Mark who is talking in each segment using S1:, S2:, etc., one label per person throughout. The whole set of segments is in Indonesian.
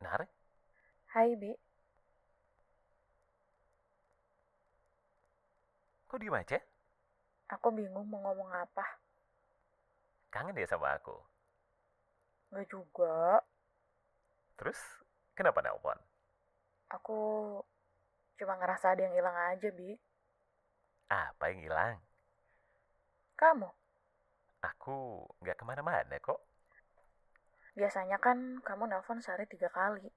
S1: Naar?
S2: Hai, Bi.
S1: Kok diem aja?
S2: Aku bingung mau ngomong apa.
S1: Kangen ya sama aku?
S2: Nggak juga.
S1: Terus, kenapa nelpon?
S2: Aku cuma ngerasa ada yang hilang aja, Bi.
S1: Apa yang hilang?
S2: Kamu?
S1: Aku nggak kemana-mana kok.
S2: Biasanya kan kamu nelpon sehari tiga kali.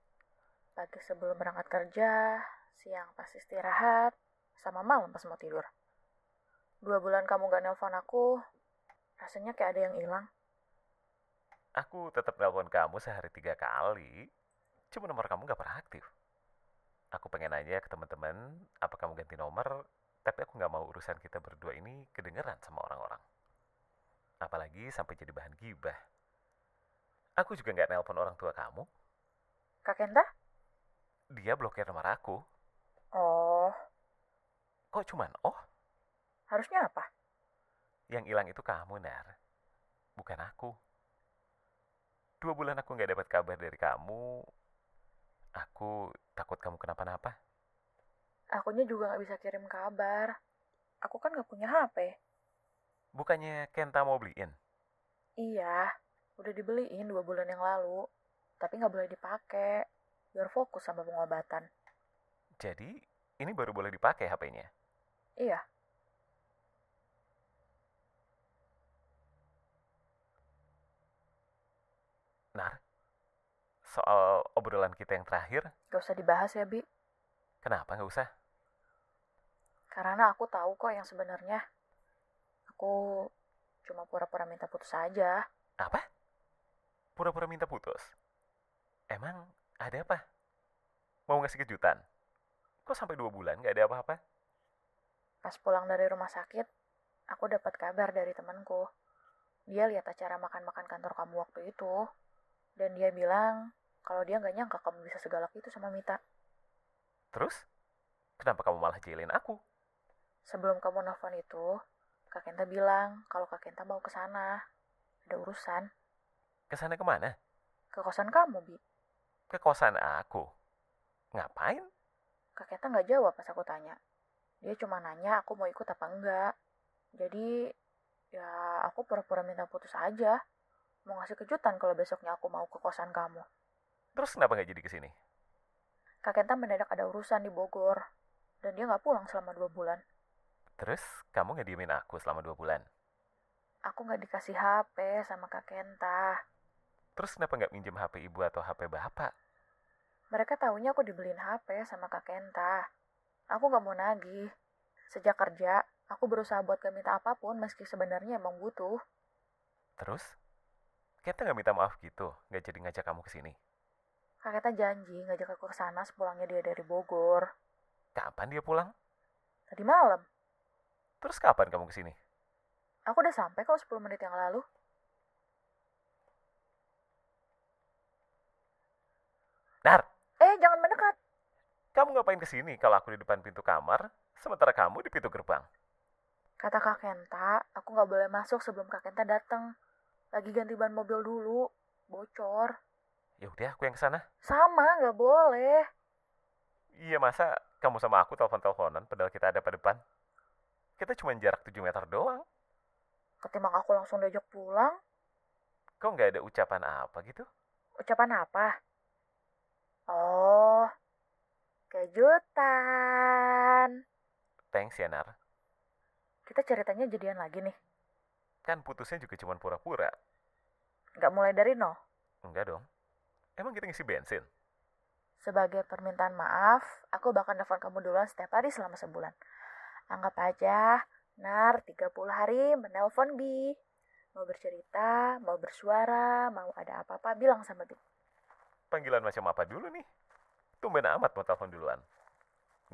S2: Pagi sebelum berangkat kerja, siang pas istirahat, sama malam pas mau tidur. Dua bulan kamu nggak nelpon aku, rasanya kayak ada yang hilang.
S1: Aku tetap nelpon kamu sehari tiga kali. Cuma nomor kamu nggak pernah aktif. Aku pengen nanya ke teman-teman, apa kamu ganti nomor? Tapi aku nggak mau urusan kita berdua ini kedengeran sama orang-orang. Apalagi sampai jadi bahan gibah. Aku juga nggak nelpon orang tua kamu.
S2: Kak Kenta?
S1: Dia blokir nomor aku.
S2: Oh,
S1: Kok cuman oh?
S2: harusnya apa?
S1: Yang hilang itu kamu, Nar. Bukan aku. Dua bulan aku nggak dapat kabar dari kamu. Aku takut kamu kenapa-napa.
S2: Akunya juga nggak bisa kirim kabar. Aku kan nggak punya HP.
S1: Bukannya Kenta mau beliin.
S2: Iya, udah dibeliin dua bulan yang lalu. Tapi nggak boleh dipakai. Biar fokus sama pengobatan.
S1: Jadi, ini baru boleh dipakai HP-nya.
S2: Iya,
S1: Nar, soal obrolan kita yang terakhir,
S2: gak usah dibahas ya, Bi.
S1: kenapa nggak usah?
S2: Karena aku tahu kok yang sebenarnya. Aku cuma pura-pura minta putus aja.
S1: Apa? Pura-pura minta putus? Emang ada apa? Mau ngasih kejutan? Kok sampai dua bulan nggak ada apa-apa?
S2: Pas pulang dari rumah sakit, aku dapat kabar dari temanku. Dia lihat acara makan-makan kantor kamu waktu itu. Dan dia bilang kalau dia nggak nyangka kamu bisa segalak itu sama Mita.
S1: Terus, kenapa kamu malah jahilin aku?
S2: Sebelum kamu nelfon itu, Kak Kenta bilang kalau Kak Kenta mau ke sana. Ada urusan.
S1: Kesana kemana?
S2: Ke kosan kamu, Bi.
S1: Ke kosan aku. Ngapain?
S2: Kak Kenta nggak jawab pas aku tanya. Dia cuma nanya aku mau ikut apa enggak. Jadi, ya aku pura-pura minta putus aja. Mau ngasih kejutan kalau besoknya aku mau ke kosan kamu.
S1: Terus kenapa nggak jadi kesini?
S2: Kak Kenta mendadak ada urusan di Bogor. Dan dia nggak pulang selama dua bulan.
S1: Terus, kamu nggak diemin aku selama dua bulan?
S2: Aku nggak dikasih HP sama Kak Kenta.
S1: Terus kenapa nggak minjem HP ibu atau HP bapak?
S2: Mereka taunya aku dibeliin HP sama Kak Kenta. Aku nggak mau nagih. Sejak kerja, aku berusaha buat gak minta apapun meski sebenarnya emang butuh.
S1: Terus, kita nggak minta maaf gitu, nggak jadi ngajak kamu kesini.
S2: Kak Kenta janji ngajak aku ke sana sepulangnya dia dari Bogor.
S1: Kapan dia pulang?
S2: Tadi malam.
S1: Terus kapan kamu kesini?
S2: Aku udah sampai kok 10 menit yang lalu.
S1: Nar,
S2: Eh, jangan mendekat.
S1: kamu ngapain kesini kalau aku di depan pintu kamar, sementara kamu di pintu gerbang?
S2: Kata Kak Kenta, aku nggak boleh masuk sebelum Kak Kenta datang. Lagi ganti ban mobil dulu. Bocor.
S1: Ya udah, aku yang kesana.
S2: Sama, nggak boleh.
S1: Iya masa kamu sama aku telepon-teleponan padahal kita ada pada depan? Kita cuma jarak 7 meter doang.
S2: Ketimbang aku langsung diajak pulang,
S1: Kok nggak ada ucapan apa gitu?
S2: ucapan apa? Oh, kejutan.
S1: Thanks ya, Nar.
S2: Kita ceritanya jadian lagi nih.
S1: Kan putusnya juga cuma pura-pura.
S2: Nggak mulai dari nol.
S1: Enggak dong. Emang kita ngisi bensin?
S2: Sebagai permintaan maaf, aku bakal nelfon kamu duluan setiap hari selama sebulan. Anggap aja, Nar 30 hari menelpon Bi. Mau bercerita, mau bersuara, mau ada apa-apa, bilang sama Bi.
S1: Panggilan macam apa dulu nih? Tumben amat mau telepon duluan.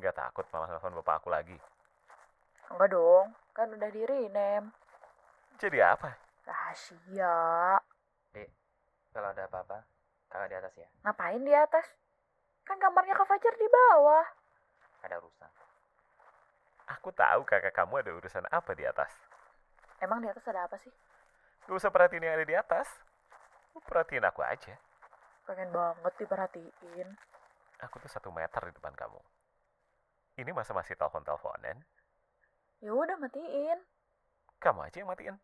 S1: Nggak takut malah telepon bapak aku lagi.
S2: Enggak dong, kan udah di rename.
S1: Jadi apa?
S2: Rahasia.
S3: Kalau ada apa-apa, kakak di atas ya.
S2: Ngapain di atas? Kan kamarnya Kak Fajar di bawah.
S3: Ada urusan.
S1: Aku tahu kakak kamu ada urusan apa di atas.
S2: Emang di atas ada apa sih?
S1: Gak usah perhatiin yang ada di atas. Lu perhatiin aku aja.
S2: Pengen banget diperhatiin.
S1: Aku tuh satu meter di depan kamu. Ini masa masih telepon-teleponan?
S2: Ya udah matiin.
S1: Kamu aja yang matiin.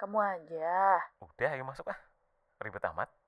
S2: Kamu aja.
S1: Udah, ayo masuk ah. Ribet amat.